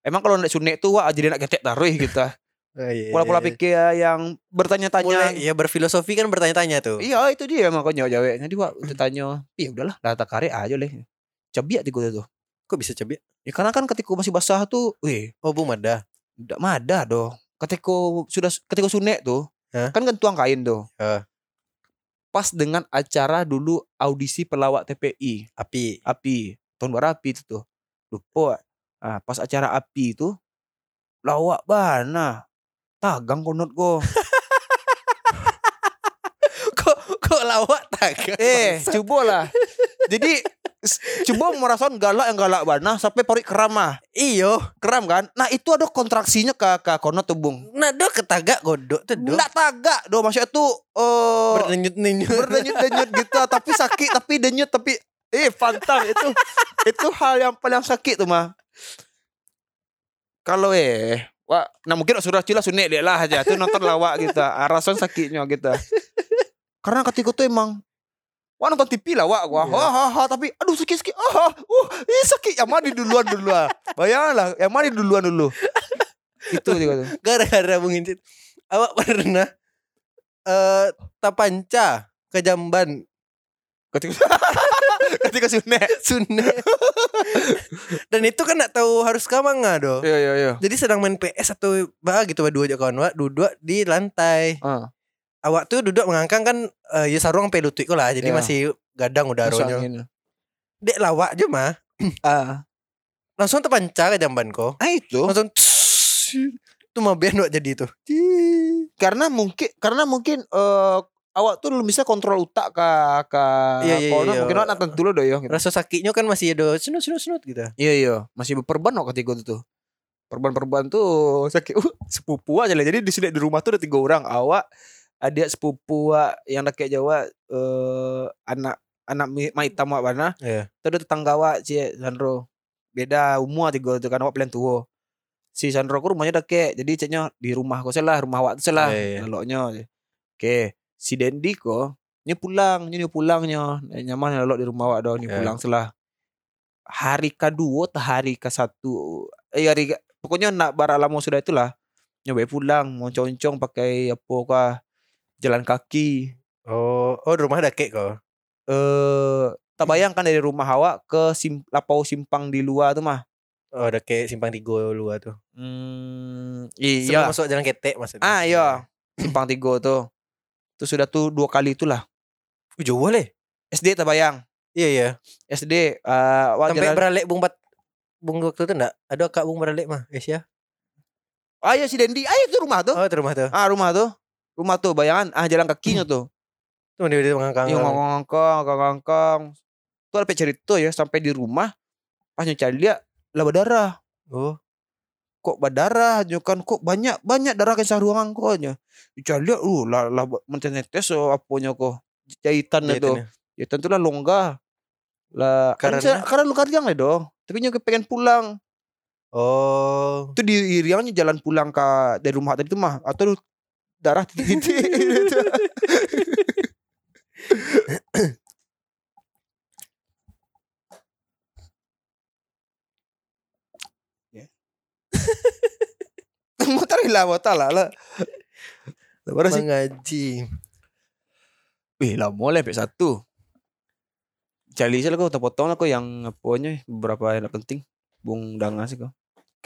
A: Emang kalau nak sunek tuh wak jadi nak ketek taruh gitu. ah.
B: Oh,
A: Pola-pola pikir yang
B: iya, Mulai,
A: bertanya-tanya.
B: ya berfilosofi kan bertanya-tanya tuh.
A: Iya itu dia makanya jawabnya. Jadi wak
B: [CLEARS THROAT]
A: ditanya, "Ya udahlah, data kare aja leh." Cebiak di gua tu.
B: Kok bisa coba?
A: Ya karena kan ketika masih basah tuh, weh,
B: Oh, Bu Mada.
A: ndak mada doh. Ketika sudah ketika sunek tuh,
B: Hah?
A: kan kan tuang kain tuh.
B: Hah.
A: Pas dengan acara dulu audisi pelawak TPI,
B: Api.
A: api, tahun baru api itu tuh. Lupa. Ah, pas acara api itu lawak bana. Tagang konot go.
B: kok [LAUGHS] kok lawak tak?
A: eh, coba lah. Jadi s- coba merasakan galak yang galak bana sampai parik keramah.
B: iyo.
A: Keram kan? Nah, itu ada kontraksinya ke ke konot tuh, Bung.
B: Nah, do ketagak godok tuh do.
A: Nggak tagak doh maksudnya tuh eh
B: oh. Berdenyut-denyut.
A: berdenyut-denyut gitu tapi sakit tapi denyut tapi eh pantang itu itu hal yang paling sakit tuh mah. Kalau eh Wah, nah mungkin sudah cila sunik dia lah aja tuh nonton lawak gitu. Arasan sakitnya gitu. Karena ketika itu emang Wah nonton TV lah wak, wah,
B: Iya.
A: ha, ha, ha, tapi aduh sakit sakit, ah, ah, uh, ih sakit, yang mana di duluan duluan, bayanglah, yang mana di duluan dulu, itu juga tuh.
B: gara-gara Bung Incit awak pernah eh tapanca ke Jamban
A: Ketika, [LAUGHS] ketika sunek,
B: [LAUGHS] Sunda [LAUGHS] dan itu kan nggak tahu harus kamanga do
A: iya iya iya,
B: jadi sedang main PS atau bah gitu bah, dua aja kawan awak duduk di lantai
A: Ah.
B: awak tuh duduk mengangkang kan eh, ya sarung sampai lutut kok lah jadi
A: Ya.
B: masih gadang
A: masuk
B: udaranya
A: angin.
B: dek lawak aja mah
A: Ah,
B: langsung terpanca ke Jamban ko
A: Ah itu
B: langsung itu mah [LAUGHS] biar awak jadi itu
A: karena mungkin karena mungkin eh, awak tuh belum bisa kontrol utak ke ke
B: Iya, iya,
A: kono.
B: iya.
A: nah, mungkin awak nonton dulu doyong gitu.
B: rasa sakitnya kan masih ada senut senut senut gitu
A: Iya iya masih berperban waktu ketika itu tuh. Perban-perban tuh [LAUGHS] sakit uh, sepupu aja lah. Jadi di sini di rumah tuh ada tiga orang awak adik sepupu awak yang rakyat Jawa eh anak anak mi- maitam awak mana
B: Iya.
A: Terus ada tetangga awak si Sandro beda umur tiga itu kan awak paling tua si Sandro ku rumahnya deket jadi ceknya di rumah kau salah rumah awak tu salah
B: Iya, iya.
A: leloknya oke si Dendi ko ni pulang ni dia pulangnya nyaman lelok di rumah awak dah ni
B: Iya.
A: pulang salah hari kedua atau hari ke satu eh hari ke- pokoknya nak baralamo sudah itulah nyoba pulang mau concong pakai apa kah jalan kaki
B: oh oh di rumah dake kok
A: eh tak bayangkan dari rumah awak ke sim, lapau simpang di luar tuh mah.
B: Oh, ada kayak simpang tiga luar tuh.
A: Hmm,
B: Sebelum
A: iya.
B: masuk jalan ketek maksudnya.
A: Ah iya. Simpang tiga tuh. Terus sudah tuh dua kali itulah.
B: Uh, Jawa leh.
A: SD tak bayang.
B: Iya iya.
A: SD eh
B: Sampai
A: wajar.
B: beralek bung pat bung waktu itu enggak? Ada kak bung beralek mah, guys ya.
A: Ayo si Dendi, ayo tuh rumah tuh.
B: Oh, itu rumah tuh.
A: Ah rumah tuh. Rumah tuh bayangan ah jalan kakinya tuh.
B: Itu di di mengangkang.
A: Iya ngongkong ngongkong. Tuh sampai cerita ya sampai di rumah pas nyocok dia lah berdarah.
B: Oh,
A: Kok berdarah nyo kan kok banyak banyak darah ke ruangan kok nya. Nyocok dia uh lah lah menetes so apanya kok jahitan itu.
B: jahitannya.
A: Ya tentulah longga. Lah
B: Karena?
A: karena karena lu karjang lah dong. Tapi nyo pengen pulang.
B: Oh.
A: Itu di Riangnya jalan pulang ke dari rumah tadi tuh mah atau lu- darah titik-titik gitu. Ya. [LAUGHS] Motor hilang motor lah lah. Lebar sih.
B: Mengaji.
A: Wih lah mulai sampai satu. Cali sih lah kau potong lah kau yang apanya beberapa yang penting. Bung Danga sih kau.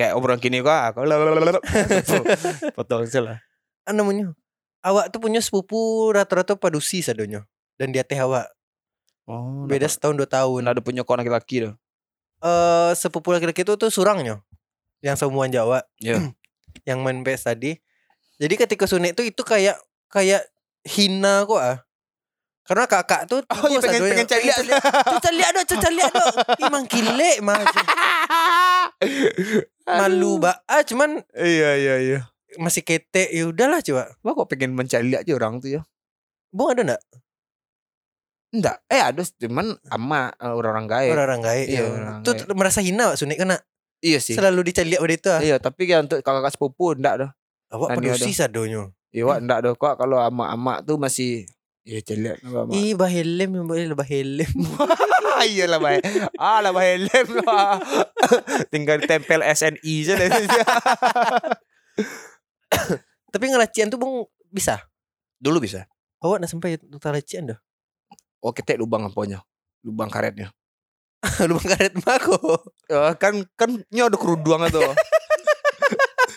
A: Kayak obrolan kini kau ah, kau lalalala. [LAUGHS] [LAUGHS] potong sih lah.
B: Ah namanya. Awak tuh punya sepupu rata-rata padusi sadonyo. Dan dia teh awak
A: Oh,
B: beda setahun dua tahun. Eh
A: ada punya kau laki-laki dah.
B: sepupu laki-laki itu tuh surangnyo. Yang semuanya Jawa.
A: Iya.
B: yang main PS tadi. Jadi ketika Sunek tuh itu kayak kayak hina kok ah. Karena kakak tuh
A: Oh, iya, pengen- pengen cari lihat.
B: Cari lihat dong, cari lihat
A: [LAUGHS]
B: dong. Imang gile mah. Malu ba. Ah, cuman
A: Iya iya iya.
B: masih kete. Ya udahlah coba.
A: Lo kok pengen mencari lihat aja orang tuh ya?
B: Bung ada enggak?
A: Enggak. Eh ada cuman ama eh, orang-orang gaya.
B: Orang-orang gaib.
A: Iya,
B: ya.
A: orang
B: Tuh merasa hina Wak Sunek kena.
A: Iya sih.
B: Selalu dicari lihat pada itu ah.
A: Iya, tapi kan untuk kakak sepupu enggak dah.
B: Awak
A: Nah, dia
B: pedusi sadonyo.
A: Iya, wak, enggak dah kok kalau ama-ama tuh masih Iya, cari lihat sama ama.
B: Ih, bahelem yang boleh lah bahelem.
A: [LAUGHS] Ah, iya lah bahaya. Ah lah bahaya lem lah. [LAUGHS] Tinggal tempel SNI aja deh.
B: [LAUGHS]
A: [LAUGHS]
B: Tapi ngelacian tuh Bung bisa.
A: Dulu bisa.
B: Awak nak sampai untuk lacian dah.
A: Oh ketek lubang apanya? Lubang karetnya.
B: [LAUGHS] Lubang karet mako.
A: Eh, kan kan nyo ada keruduan tuh. [LAUGHS]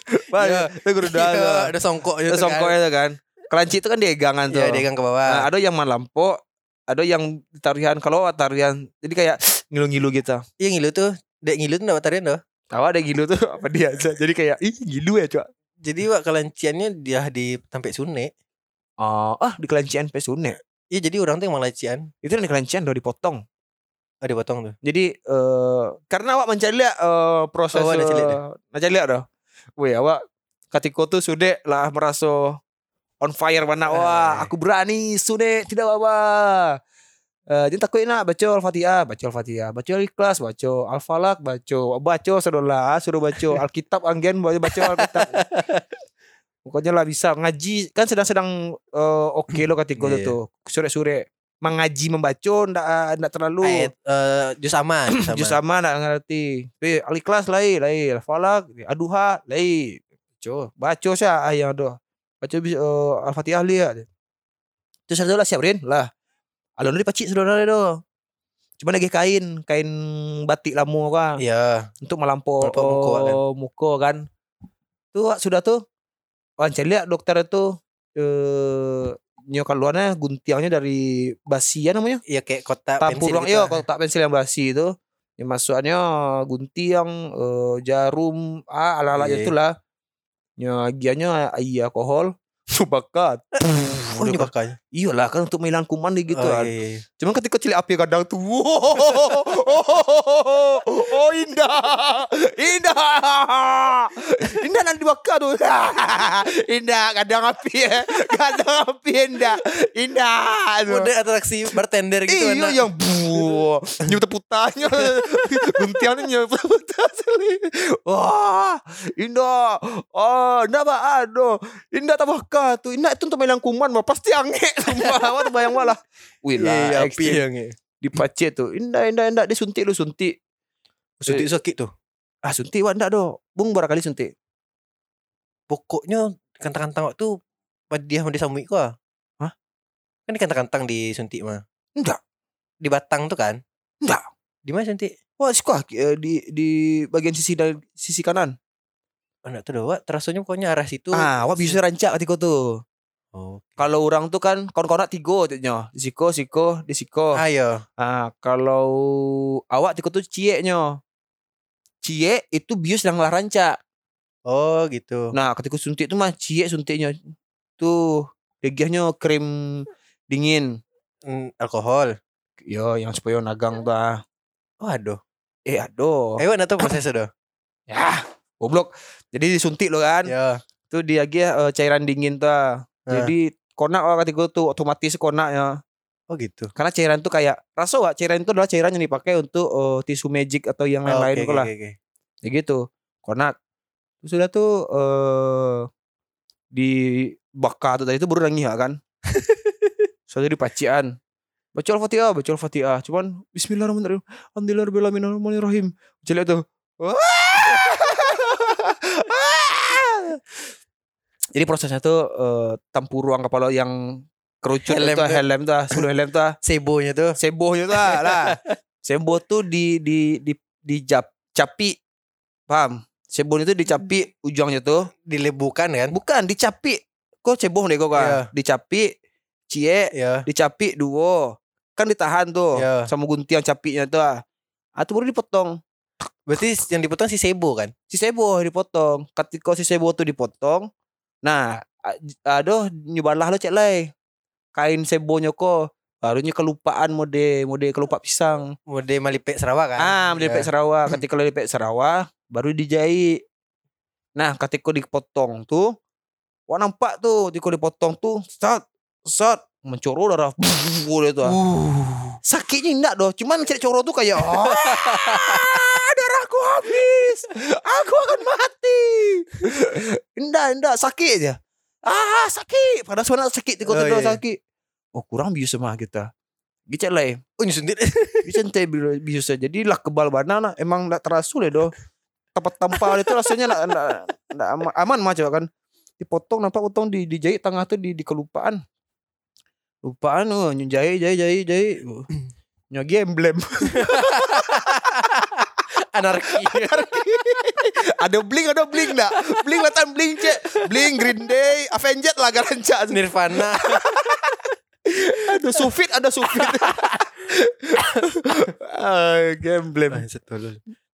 B: Iya.
A: Wah, itu keruduan.
B: [LAUGHS] Iya,
A: tuh.
B: ada songkok ya,
A: Itu
B: juga
A: songkoknya tuh kan. Kelanci itu kan diegangan
B: kan.
A: tuh.
B: Iya, digang ke bawah.
A: Nah, ada yang malampo, ada yang tarian kalau awak tarian. Jadi kayak ngilu-ngilu gitu.
B: Iya ngilu tuh, dek ngilu tuh dapat tarian doh.
A: Awak ada gilu tuh [LAUGHS] apa dia aja. Jadi kayak ih gilu ya, Cok.
B: Jadi wak kelanciannya dia di tampek sune.
A: Oh, ah di kelancian pesune.
B: Iya jadi orang tuh yang malacian.
A: Itu yang di kelancian udah dipotong.
B: Ada potong tuh.
A: Jadi eh karena awak mencari lihat eh, proses
B: Awak nak cari lihat
A: eh, nak cari lihat dah. Weh awak katiko tu sudah lah merasa on fire mana wah
B: Hai.
A: aku berani sudah tidak apa-apa. Eh jadi takut nak baca Al-Fatihah, baca Al-Fatihah, baca Al-Ikhlas, baca Al-Falak, baca baca sedolah, ah, suruh baca
B: [LAUGHS]
A: Alkitab anggen baca baca Alkitab. Pokoknya lah bisa ngaji kan sedang-sedang eh, oke
B: [CLEARS THROAT]
A: lo katiko
B: Iya,
A: tu tuh. Sore-sore mengaji membaca ndak ndak terlalu
B: Ayat eh, jus sama, [CLEARS THROAT] jus sama.
A: Jus sama nak ngerti. Tapi al-ikhlas lai, lai al-falak, aduha lai. Baca, baca sya ah yang doa. Baca bis- eh, al-Fatihah lihat. Terus ada lah siap Rin lah. Alon ni pacik saudara dia doh. Cuma lagi kain, kain batik lama kan.
B: Iya.
A: Untuk melampau
B: Melampau muka,
A: muka,
B: kan?
A: kan? muka kan. Tu wak, sudah tu. Wan saya lihat dokter tu eh nyokan luarnya guntiangnya dari basia namanya
B: Iya kayak kotak
A: tak
B: pensil
A: purong
B: gitu
A: iya,
B: lah.
A: kalau tak pensil yang basi itu ya masuknya guntiang eh, jarum ah ala ala
B: Iya.
A: itulah ya gianya iya alkohol [LAUGHS] subakat
B: Oh, ini bakal.
A: iyalah kan untuk menghilangkan kuman dia gitu
B: Oh,
A: kan.
B: iya, iya, iya.
A: Cuman ketika cilik api kadang [LAUGHS] tuh oh, oh, indah indah indah nanti bakar tuh [LAUGHS] indah kadang api [LAUGHS] ya kadang api indah indah tuh.
B: Udah atraksi bartender gitu
A: Iya
B: enak.
A: yang buah nyebuta [LAUGHS] putanya Guntiannya nyebuta puta asli. Wah Indah Oh Indah apa aduh Indah tambah ka tu Indah itu untuk mainan kuman mah Pasti angin [LAUGHS] semua Awak tu bayang malah Wih
B: Iya, iya,
A: lah
B: api
A: action.
B: yang iya.
A: Dipacit tu Indah indah indah Dia suntik lu suntik
B: Suntik sakit tuh.
A: Ah suntik wak indah doh Bung barangkali suntik
B: Pokoknya kantang-kantang waktu pada dia mau disambui kok. ah.
A: Hah?
B: Kan di kantang-kantang di suntik mah.
A: Enggak.
B: Di batang tuh kan?
A: Enggak.
B: Di mana suntik?
A: Wah sikuah eh, di di bagian sisi dan sisi kanan
B: Oh, Anak tuh doa terasanya pokoknya arah situ.
A: Ah wak bisa rancak ketika tu
B: Oh.
A: Kalau orang tuh kan kon-konak tiga jadinya. Siko, siko, di siko.
B: Ayo.
A: Ah, kalau awak tiga tuh cie nyo. Cie itu bius yang laranca.
B: Oh gitu.
A: Nah, ketika suntik tuh mah cie suntiknya. Tuh, degiahnya krim dingin.
B: Mm, alkohol.
A: Yo, yang supaya nagang tuh. ah.
B: Waduh.
A: Eh, aduh.
B: Ayo atau proses udah.
A: Ya, goblok. Jadi disuntik lo kan.
B: Ya.
A: Tuh dia dia cairan dingin tuh. ah. Jadi konak orang ketika tuh otomatis konaknya.
B: Oh gitu.
A: karena cairan tuh kayak rasa wak cairan itu adalah cairan yang dipakai untuk eh, tisu magic atau yang
B: Oh,
A: lain-lain
B: oke,
A: kok lah
B: oke, oke.
A: ya gitu konak Terus sudah tuh eh di bakar tuh tadi itu baru nangis ya kan soalnya di pacian baca al-fatihah baca al-fatihah cuman Bismillahirrahmanirrahim Alhamdulillahirrahmanirrahim baca lihat tuh jadi prosesnya tuh eh, tampuruang kepala yang kerucut
B: Helm
A: itu
B: tuh.
A: helm tuh sebelum helm tuh
B: Sebonya tuh.
A: sembohnya tuh lah, lah. Sembo tuh di di di di jap, capi. Paham? Sembo itu dicapi ujungnya tuh.
B: Dilebukan kan?
A: Bukan dicapi. Kok cebong deh kok kan.
B: Iya.
A: Dicapi cie,
B: Ya.
A: dicapi duo. Kan ditahan tuh
B: Iya.
A: sama guntian capinya tuh. ah. Atau baru dipotong.
B: Berarti yang dipotong si sebo kan?
A: Si sebo dipotong. Ketika si sebo tuh dipotong, nah a- aduh nyebarlah lo cek lay. Kain sebonya kok barunya kelupaan mode mode kelupa pisang.
B: Mode Malipek Sarawak kan?
A: Ah, beli pek
B: Ya.
A: Sarawak. Ketika lo pek Sarawak, baru dijahit. Nah, ketika dipotong tuh, wah nampak tuh, ketika dipotong tuh, sat, sat, mencoro darah, [LAUGHS] boleh tuh. ah.
B: Uh.
A: Sakitnya enggak doh, cuman cari coro tuh kayak,
B: [LAUGHS]
A: "Ah, darahku habis, aku akan mati. [LAUGHS] enggak, enggak, sakit aja. Ah, sakit. Padahal sebenarnya sakit, tiga
B: Oh,
A: tuh
B: iya.
A: sakit. Oh, kurang bius sama kita. Gicet lah ya.
B: Oh nyusuntit.
A: Bisa ente bila- bisa jadi lah kebal banana emang ndak terasul ya doh. Tempat tampal itu rasanya ndak ndak ndak ama- aman mah coba kan. Dipotong nampak potong di dijahit tengah tuh di di kelupaan. Lupaan oh jahit jahit jahit jahit. Oh. Nyagi emblem.
B: Anarki.
A: ada bling ada bling ndak? Bling latan bling cek. Bling Green Day, Avenged lah garanca.
B: [LAUGHS] Nirvana.
A: Ada sufit ada sufit. [LAUGHS] ah, emblem.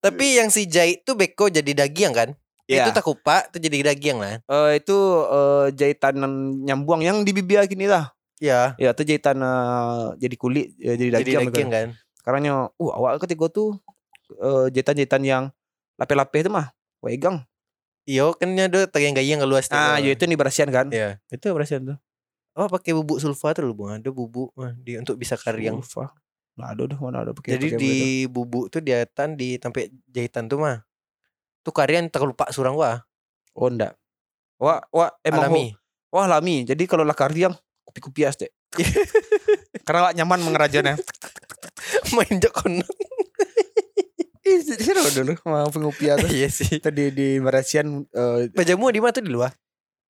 B: Tapi yang si jahit tuh beko jadi dagiang kan?
A: Ya.
B: Itu takupa tuh jadi dagiang lah.
A: Eh, itu eh, jahitan nyambuang yang di bibir gini lah.
B: Ya.
A: Ya itu jahitan eh, jadi kulit ya, jadi
B: Jadi
A: dagang
B: dagiang
A: gitu.
B: kan?
A: Karena nyo, uh awal ketika tuh eh, jahitan-jahitan yang lape-lape itu mah wegang.
B: Iyo kan ada tagiang gayang ngeluas tuh.
A: Nah, ya itu di Berasian kan.
B: Iya.
A: Itu Berasian tuh.
B: Oh pakai bubuk sulfa tuh loh bung. Ada bubuk eh, di untuk bisa karyang.
A: Sulfa. Nah, ada udah mana ada pakai.
B: Jadi
A: pakai
B: di
A: begitu.
B: bubuk tuh diatan di tempe jahitan tuh mah. Tuh karyang terlupa surang wah.
A: oh enggak. Wah, wah
B: Eh,
A: emang alami.
B: alami.
A: eh, wah alami. Jadi kalau lah karyang kopi-kopi as deh. [LAUGHS] Karena gak nyaman mengerajanya.
B: [LAUGHS] Main jokon.
A: Ih, seru dulu mau kopi as.
B: Iya sih.
A: Tadi di Berasian eh
B: Pajamu di mana tuh di luar?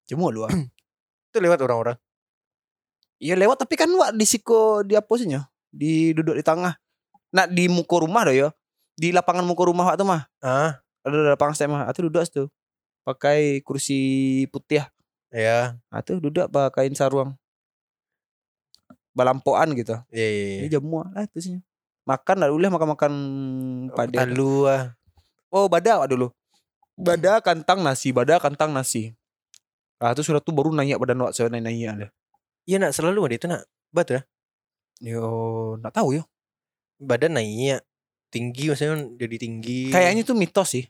A: jemu lu. ah.
B: Tuh lewat orang-orang.
A: Ya lewat tapi kan wak di siko di apa sih Nyo? Di duduk di tengah. Nak di muka rumah doh yo. Di lapangan muka rumah wak tuh mah.
B: Ah,
A: Ada lapangan saya mah. Atuh duduk situ. Pakai kursi putih.
B: ya.
A: Atuh duduk pakaiin sarung. Balampoan gitu.
B: Iya, iya,
A: Ini
B: iya.
A: jamu lah itu sih. Nyo. Makan lah boleh makan-makan pade.
B: Palu ah.
A: Oh, bada wak dulu. Bada kantang nasi, bada kantang nasi. Ah, itu sudah tuh baru nanya badan wak saya nanya-nanya ada.
B: Iya nak selalu ada itu nak. ya? Batu dah.
A: Yo, nggak tahu yo.
B: Badan naiknya tinggi maksudnya kan jadi tinggi.
A: Kayaknya itu mitos sih.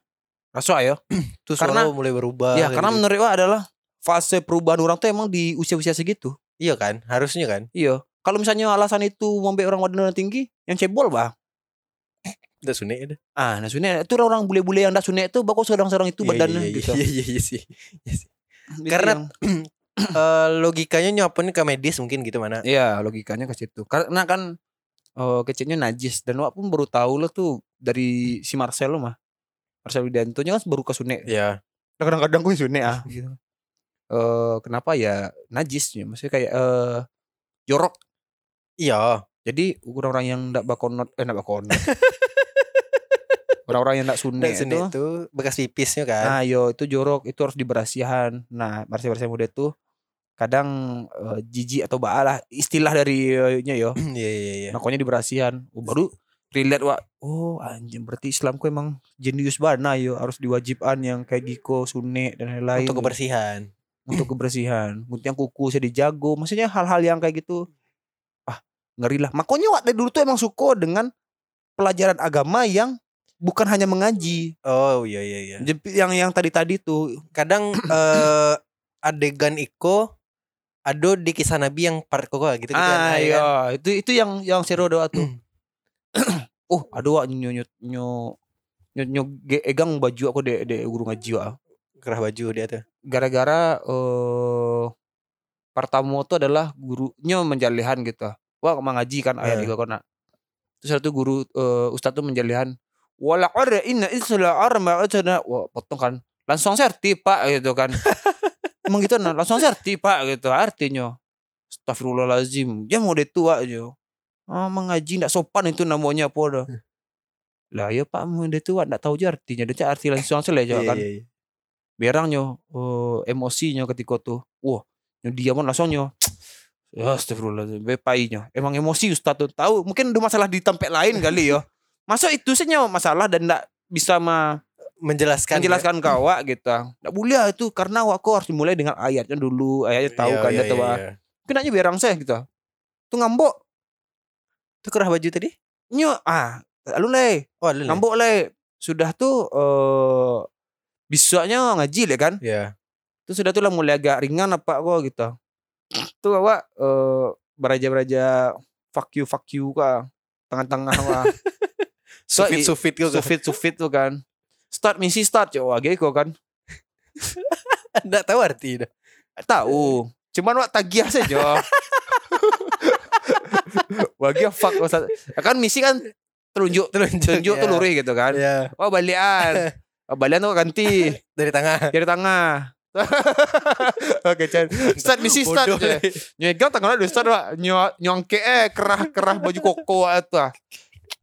A: Rasu ayo.
B: tuh
A: karena-
B: suara mulai berubah.
A: Ya
B: kayak
A: karena
B: gitu.
A: menurut gua adalah fase perubahan orang tuh emang di usia-usia segitu.
B: iya kan, harusnya kan.
A: Iya. Kalau misalnya alasan itu membek orang wadon tinggi, yang cebol bah.
B: Udah sunik ada.
A: Ah, nah sebenarnya itu orang bule-bule yang dah sunek itu bakal seorang-seorang itu badannya
B: iya, [LAUGHS]
A: gitu.
B: Iya iya iya sih.
A: Itu
B: Karena-
A: yang-
B: Eh, logikanya nyapun ke medis mungkin gitu mana.
A: iya logikanya ke situ. Karena kan oh, kecilnya najis dan wak pun baru tahu lo tuh dari si Marcelo mah. Marcelo Dantonya kan baru ke sunek.
B: Iya.
A: Nah, kadang-kadang gue sunek ah gitu. Eh, kenapa ya najis ya maksudnya kayak eh jorok
B: Iya.
A: Jadi orang-orang yang ndak bakonot eh ndak [LAUGHS] bakonot. orang-orang yang ndak sunne
B: Dan
A: itu. Ah.
B: sunik itu bekas pipisnya kan.
A: Nah, yo itu jorok, itu harus diberasihan. Nah, bersih-bersih muda itu kadang eh, jijik atau baalah istilah dari eh, nya yo
B: [CLEARS THROAT] Iya iya iya.
A: makanya di berasihan Oh, baru relate wa oh anjing berarti Islamku emang jenius bana yo harus diwajibkan yang kayak Giko Sune dan lain-lain
B: Untuk kebersihan.
A: untuk kebersihan yang kuku saya dijago maksudnya hal-hal yang kayak gitu ah ngeri lah makanya wak dari dulu tuh emang suko dengan pelajaran agama yang bukan hanya mengaji
B: Oh iya iya iya.
A: Jep- yang yang tadi-tadi tuh [CLEARS THROAT]
B: Kadang eh, adegan Iko Aduh di kisah Nabi yang part koko gitu gitu
A: ah
B: kan.
A: iya itu itu yang yang seru doa tuh oh aduh wak nyo nyo nyo nyo, nyo ge- egang baju aku de de guru ngaji wak
B: Kerah baju dia tuh.
A: gara-gara eh pertama itu adalah gurunya menjalihan gitu. Wah, mengaji kan ayat
B: Eh.
A: tiga kona. Terus satu guru eh, ustaz tuh menjalihan. Wala arra inna isla arma atana. Wah, potong kan. Langsung serti, Pak gitu kan. Emang gitu nah, langsung serti, Pak gitu artinya. Astagfirullahalazim. Dia mau dia tua aja. Ah, mengaji ndak sopan itu namanya apa dah. Lah ya Pak, mau dia tua ndak tahu je artinya. Dia cak arti langsung selesai
B: Iya,
A: aja kan
B: iya, iya.
A: berangnya uh, emosinya ketika tuh wah nyo dia pun langsung nyo Ya, Astagfirullahaladzim Bepainya Emang emosi Ustaz tuh Tahu mungkin ada masalah di tempat lain kali ya Masa itu sih nyo masalah Dan gak bisa ma
B: Menjelaskan.
A: menjelaskan ke awak gitu Gak boleh itu Karena awak kau harus dimulai dengan ayatnya dulu Ayatnya tahu kan
B: iya,
A: dia tahu
B: iya,
A: ah.
B: iya.
A: Mungkin aja berang saya gitu Tuh ngambok
B: Itu kerah baju tadi?
A: Nyo Ah Lalu leh
B: Oh, ada lah.
A: Ngambok leh Sudah tuh eh Bisanya ngaji leh kan
B: Iya.
A: Terus sudah tuh lah mulai agak ringan apa kok gitu. Tuh awak eh, beraja-beraja fuck you fuck you kah tengah-tengah
B: [LAUGHS]
A: wah. So,
B: Sufit
A: i-
B: sufit gitu.
A: sufit sufit tuh kan. Start misi start cowok age kok kan.
B: [LAUGHS] Enggak tahu arti dah.
A: Tahu. Eh, Cuman wak tagiah [LAUGHS] saja. Wagih fuck Ustaz. Kan misi kan telunjuk
B: Telunjuk,
A: telunjuk
B: ya.
A: tuh lurih gitu kan.
B: Iya.
A: Oh
B: [LAUGHS]
A: balian. Oh, balian tuh ganti
B: Dari tangan.
A: dari tengah. [LAUGHS] Oke,
B: [LAUGHS]
A: Chan. Start misi start.
B: Bodoh
A: je. [LAUGHS]
B: deh.
A: Nyegang tangan lu Ustaz Pak. Nyo- Nyongke eh kerah-kerah baju koko itu. ah.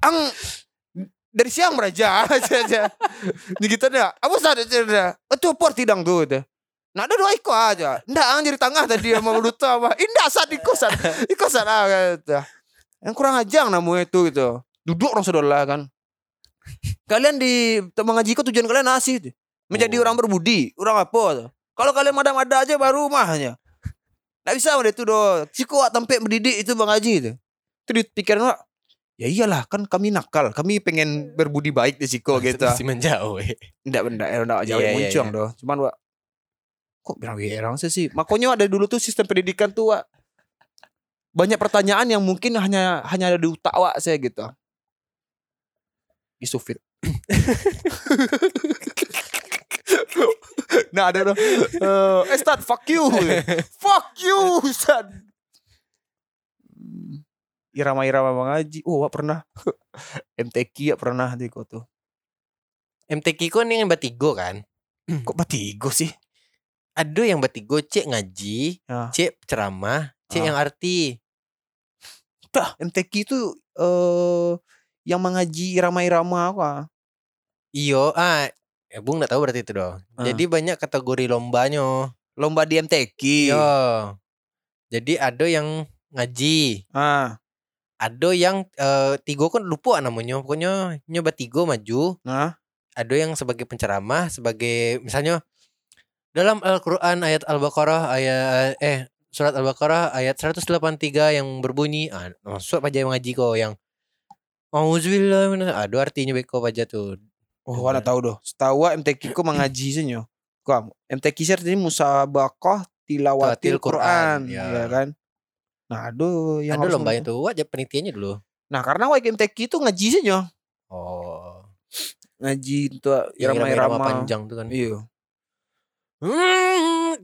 A: Ang dari siang [LAUGHS] meraja aja aja. Ni kita dah. Apa Ustaz dah. Itu por tidang "Oh, tu tu. Nak ada dua ikut aja. Ndak ang jadi tangah tadi sama Luta apa. Indah saat ikut saat ikut saat ah, gitu. Yang kurang ajang namu itu gitu. Duduk orang saudara kan. Kalian di mengaji kok tujuan kalian nasi tu. Menjadi
B: Oh.
A: orang berbudi, orang apa tu. Kalau kalian madam-ada aja baru mahnya. Tak bisa udah itu doh. Ciko wak tempat mendidik itu Bang Haji itu. Itu di pikiran wak. Ya iyalah kan kami nakal, kami pengen berbudi baik di Ciko gitu.
B: Mesti menjauh. eh.
A: Enggak benda enggak jauh
B: Iya, iya,
A: muncung
B: iya.
A: doh. Cuman wak kok bilang orang sih sih. Makanya ada dulu tuh sistem pendidikan tuh wak banyak pertanyaan yang mungkin hanya hanya ada di otak wak saya gitu. Isufir. [LAUGHS] nah ada doh. Eh, eh Stan, fuck you. fuck you, Stan. Hmm, Irama-irama mengaji. Oh, wak pernah. [LAUGHS] MTQ ya pernah di kok tuh.
B: MTQ kan yang batigo kan.
A: Kok batigo sih?
B: Aduh yang batigo cek ngaji,
A: Ya.
B: cek ceramah, cek
A: Ah.
B: yang arti.
A: Tah, MTQ itu eh yang mengaji irama-irama apa?
B: Iyo, ah, eh, Bung nggak tahu berarti itu dong.
A: Ah.
B: Jadi banyak kategori lombanya.
A: Lomba di MTQ.
B: Yo. Jadi ada yang ngaji,
A: Ah,
B: ada yang eh, tigo kan lupa namanya, pokoknya nyoba tigo maju,
A: nah,
B: ada yang sebagai penceramah, sebagai misalnya dalam Al-Qur'an ayat Al-Baqarah ayat eh surat Al-Baqarah ayat 183 yang berbunyi ah masuk aja yang ngaji kok yang Auzubillahi minas- aduh artinya beko aja tuh.
A: oh, warna tahu doh. Setahu aku MTQ ku mengaji sih nyo. Kamu MTQ sih artinya musabaqah tilawatil
B: Tilawatil Qur'an,
A: Quran,
B: ya.
A: ya. kan? Nah, aduh yang
B: Ada
A: harus
B: lomba
A: men-
B: itu, wajah penitiannya dulu.
A: Nah, karena wajib MTQ itu ngaji sih nyo.
B: Oh.
A: Ngaji itu
B: yang
A: irama-irama
B: panjang tuh kan.
A: Iya.
B: Hmm.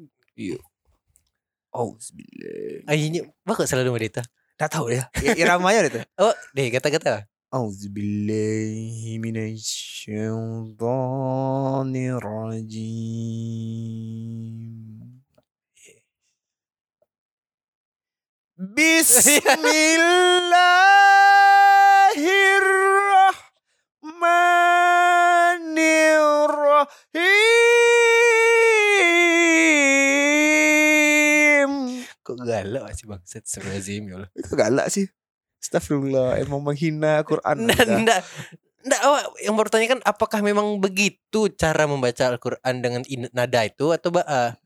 A: Oh, bismillah.
B: Ah, ini bakal selalu medita.
A: Tak tahu ya. I- Iramanya itu.
B: Oh, deh kata-kata.
A: أعوذ بالله من الشيطان الرجيم بسم الله الرحمن الرحيم
B: kok galak sih bangsat Astagfirullahaladzim ya Allah.
A: Itu galak sih. Astagfirullah, emang menghina Quran.
B: Nggak,
A: Anda.
B: nggak. Nggak, awak yang bertanya kan apakah memang begitu cara membaca Al-Quran dengan in- nada itu atau ba'a?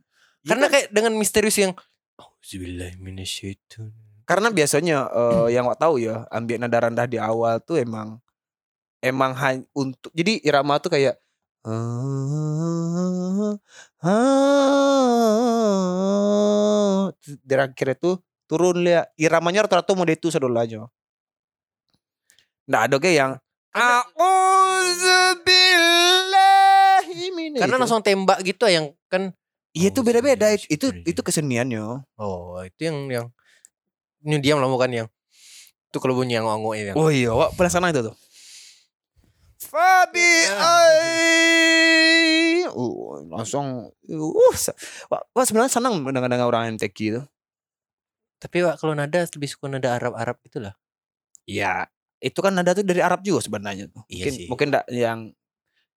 A: Ya
B: Karena
A: kan?
B: kayak dengan misterius yang Auzubillahiminasyaiton.
A: Karena biasanya eh, yang wak tahu ya, ambien nada rendah di awal tuh emang emang hanya untuk jadi irama tuh kayak dari akhirnya tuh turun lihat iramanya rata-rata mau itu sadolanya. Nah, ada kayak yang Ah, iya Auzubillahi
B: Karena langsung "Oh, tembak gitu yang kan
A: Iya itu beda-beda itu itu,
B: Auzubillahi.
A: itu keseniannya.
B: oh itu yang yang ini diam lah bukan yang itu kalau bunyi yang ongo ini.
A: Oh iya, wak penasaran itu tuh. Fabi uh, langsung uh sa- wak, wak sebenarnya senang mendengar-dengar orang MTQ itu.
B: Tapi Wak, kalau nada lebih suka nada Arab-Arab gitu itulah.
A: Ya, itu kan nada tuh dari Arab juga sebenarnya tuh.
B: Iya
A: mungkin
B: sih.
A: mungkin ndak yang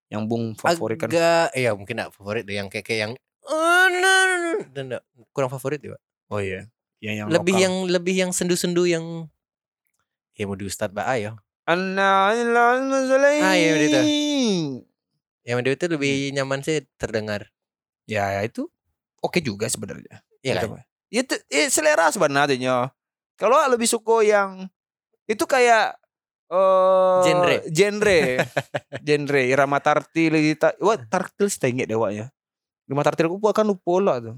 A: yang Bung favorit kan.
B: Agak ya mungkin nggak favorit deh yang kayak kayak yang "Eh, nah, nah, nah." dan nggak- kurang favorit ya Wak.
A: Oh iya. Yang yang
B: lebih
A: lokal.
B: yang lebih yang sendu-sendu yang ya mau di Ustadz Ba'a ya.
A: Anna ila al-muzalain.
B: Ah, iya, begitu. Yang dia itu lebih nyaman sih terdengar.
A: Ya, ya, itu oke juga sebenarnya.
B: Iya
A: Gitu,
B: kan?
A: Pak. Itu eh, selera sebenarnya. Kalau lebih suka yang itu kayak eh
B: Genre. [LAUGHS]
A: genre, genre irama tartil gitu. Wah, tartil sih tengok dewa ya. Irama tartil aku akan lupa lah tuh.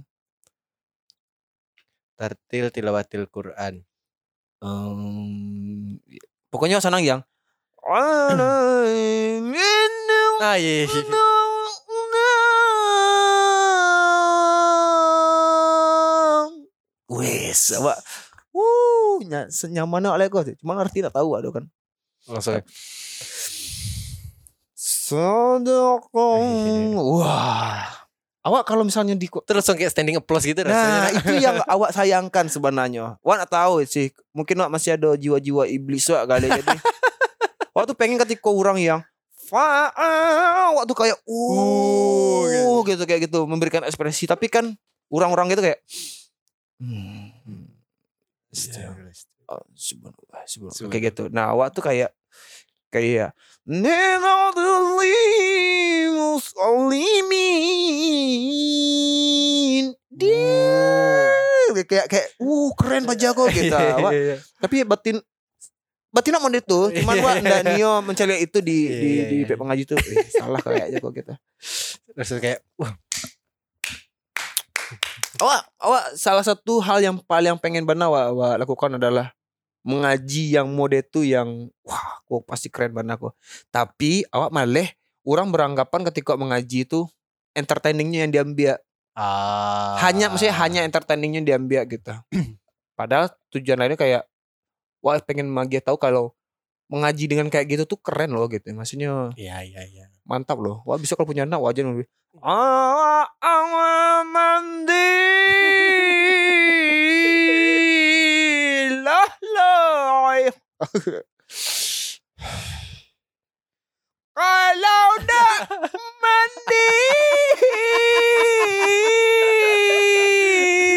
B: Tartil tilawatil Quran.
A: Em, Mmm, pokoknya senang yang Nah,
B: Ah iya. iya, iya.
A: Wes, apa? Wuh, ny- senyaman oleh kau. tuh. Cuma ngerti tak tahu aduh kan.
B: Langsung.
A: Sadaqallah. [LAUGHS] Wah. Awak kalau misalnya di
B: Terus langsung kayak standing applause gitu
A: Nah,
B: rasanya.
A: itu
B: [LAUGHS]
A: yang awak sayangkan sebenarnya. Wak nak tahu sih. Mungkin wak masih ada jiwa-jiwa iblis wak kali
B: [LAUGHS]
A: jadi. Wak tuh pengen ketika orang yang fa waktu kayak uh,
B: Uh,
A: gitu kayak gitu memberikan ekspresi tapi kan orang-orang gitu kayak hmm,
B: Ya,
A: astaga, Oh, subhanallah, subhanallah.
B: Subhanallah.
A: kayak gitu. Nah, awak tuh kayak kayak Muslimin dia kayak kayak uh keren Pak
B: [LAUGHS]
A: Jago gitu. Wak,
B: Nah. Iya, iya.
A: tapi ya batin batin mau itu cuman wah ndak nio mencari itu di
B: Iya,
A: di
B: iya,
A: di
B: iya.
A: pihak pengaji tuh eh, salah kayaknya kok kita
B: Langsung kayak wah,
A: awak awak salah satu hal yang paling pengen benar awak, awak lakukan adalah mengaji yang mode itu yang wah kok pasti keren benar kok tapi awak malah orang beranggapan ketika mengaji itu entertainingnya yang diambil
B: ah.
A: hanya maksudnya hanya entertainingnya diambil gitu padahal tujuan lainnya kayak wah pengen magia tahu kalau mengaji dengan kayak gitu tuh keren loh gitu maksudnya
B: Iya iya [LAUGHS] iya.
A: mantap loh. Wah bisa kalau punya anak wajah [LAUGHS] lebih. Awa awa mandi lah lah. Kalau nak mandi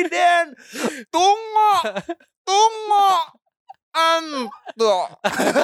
A: dan tunggu tunggu antuk.
B: Ya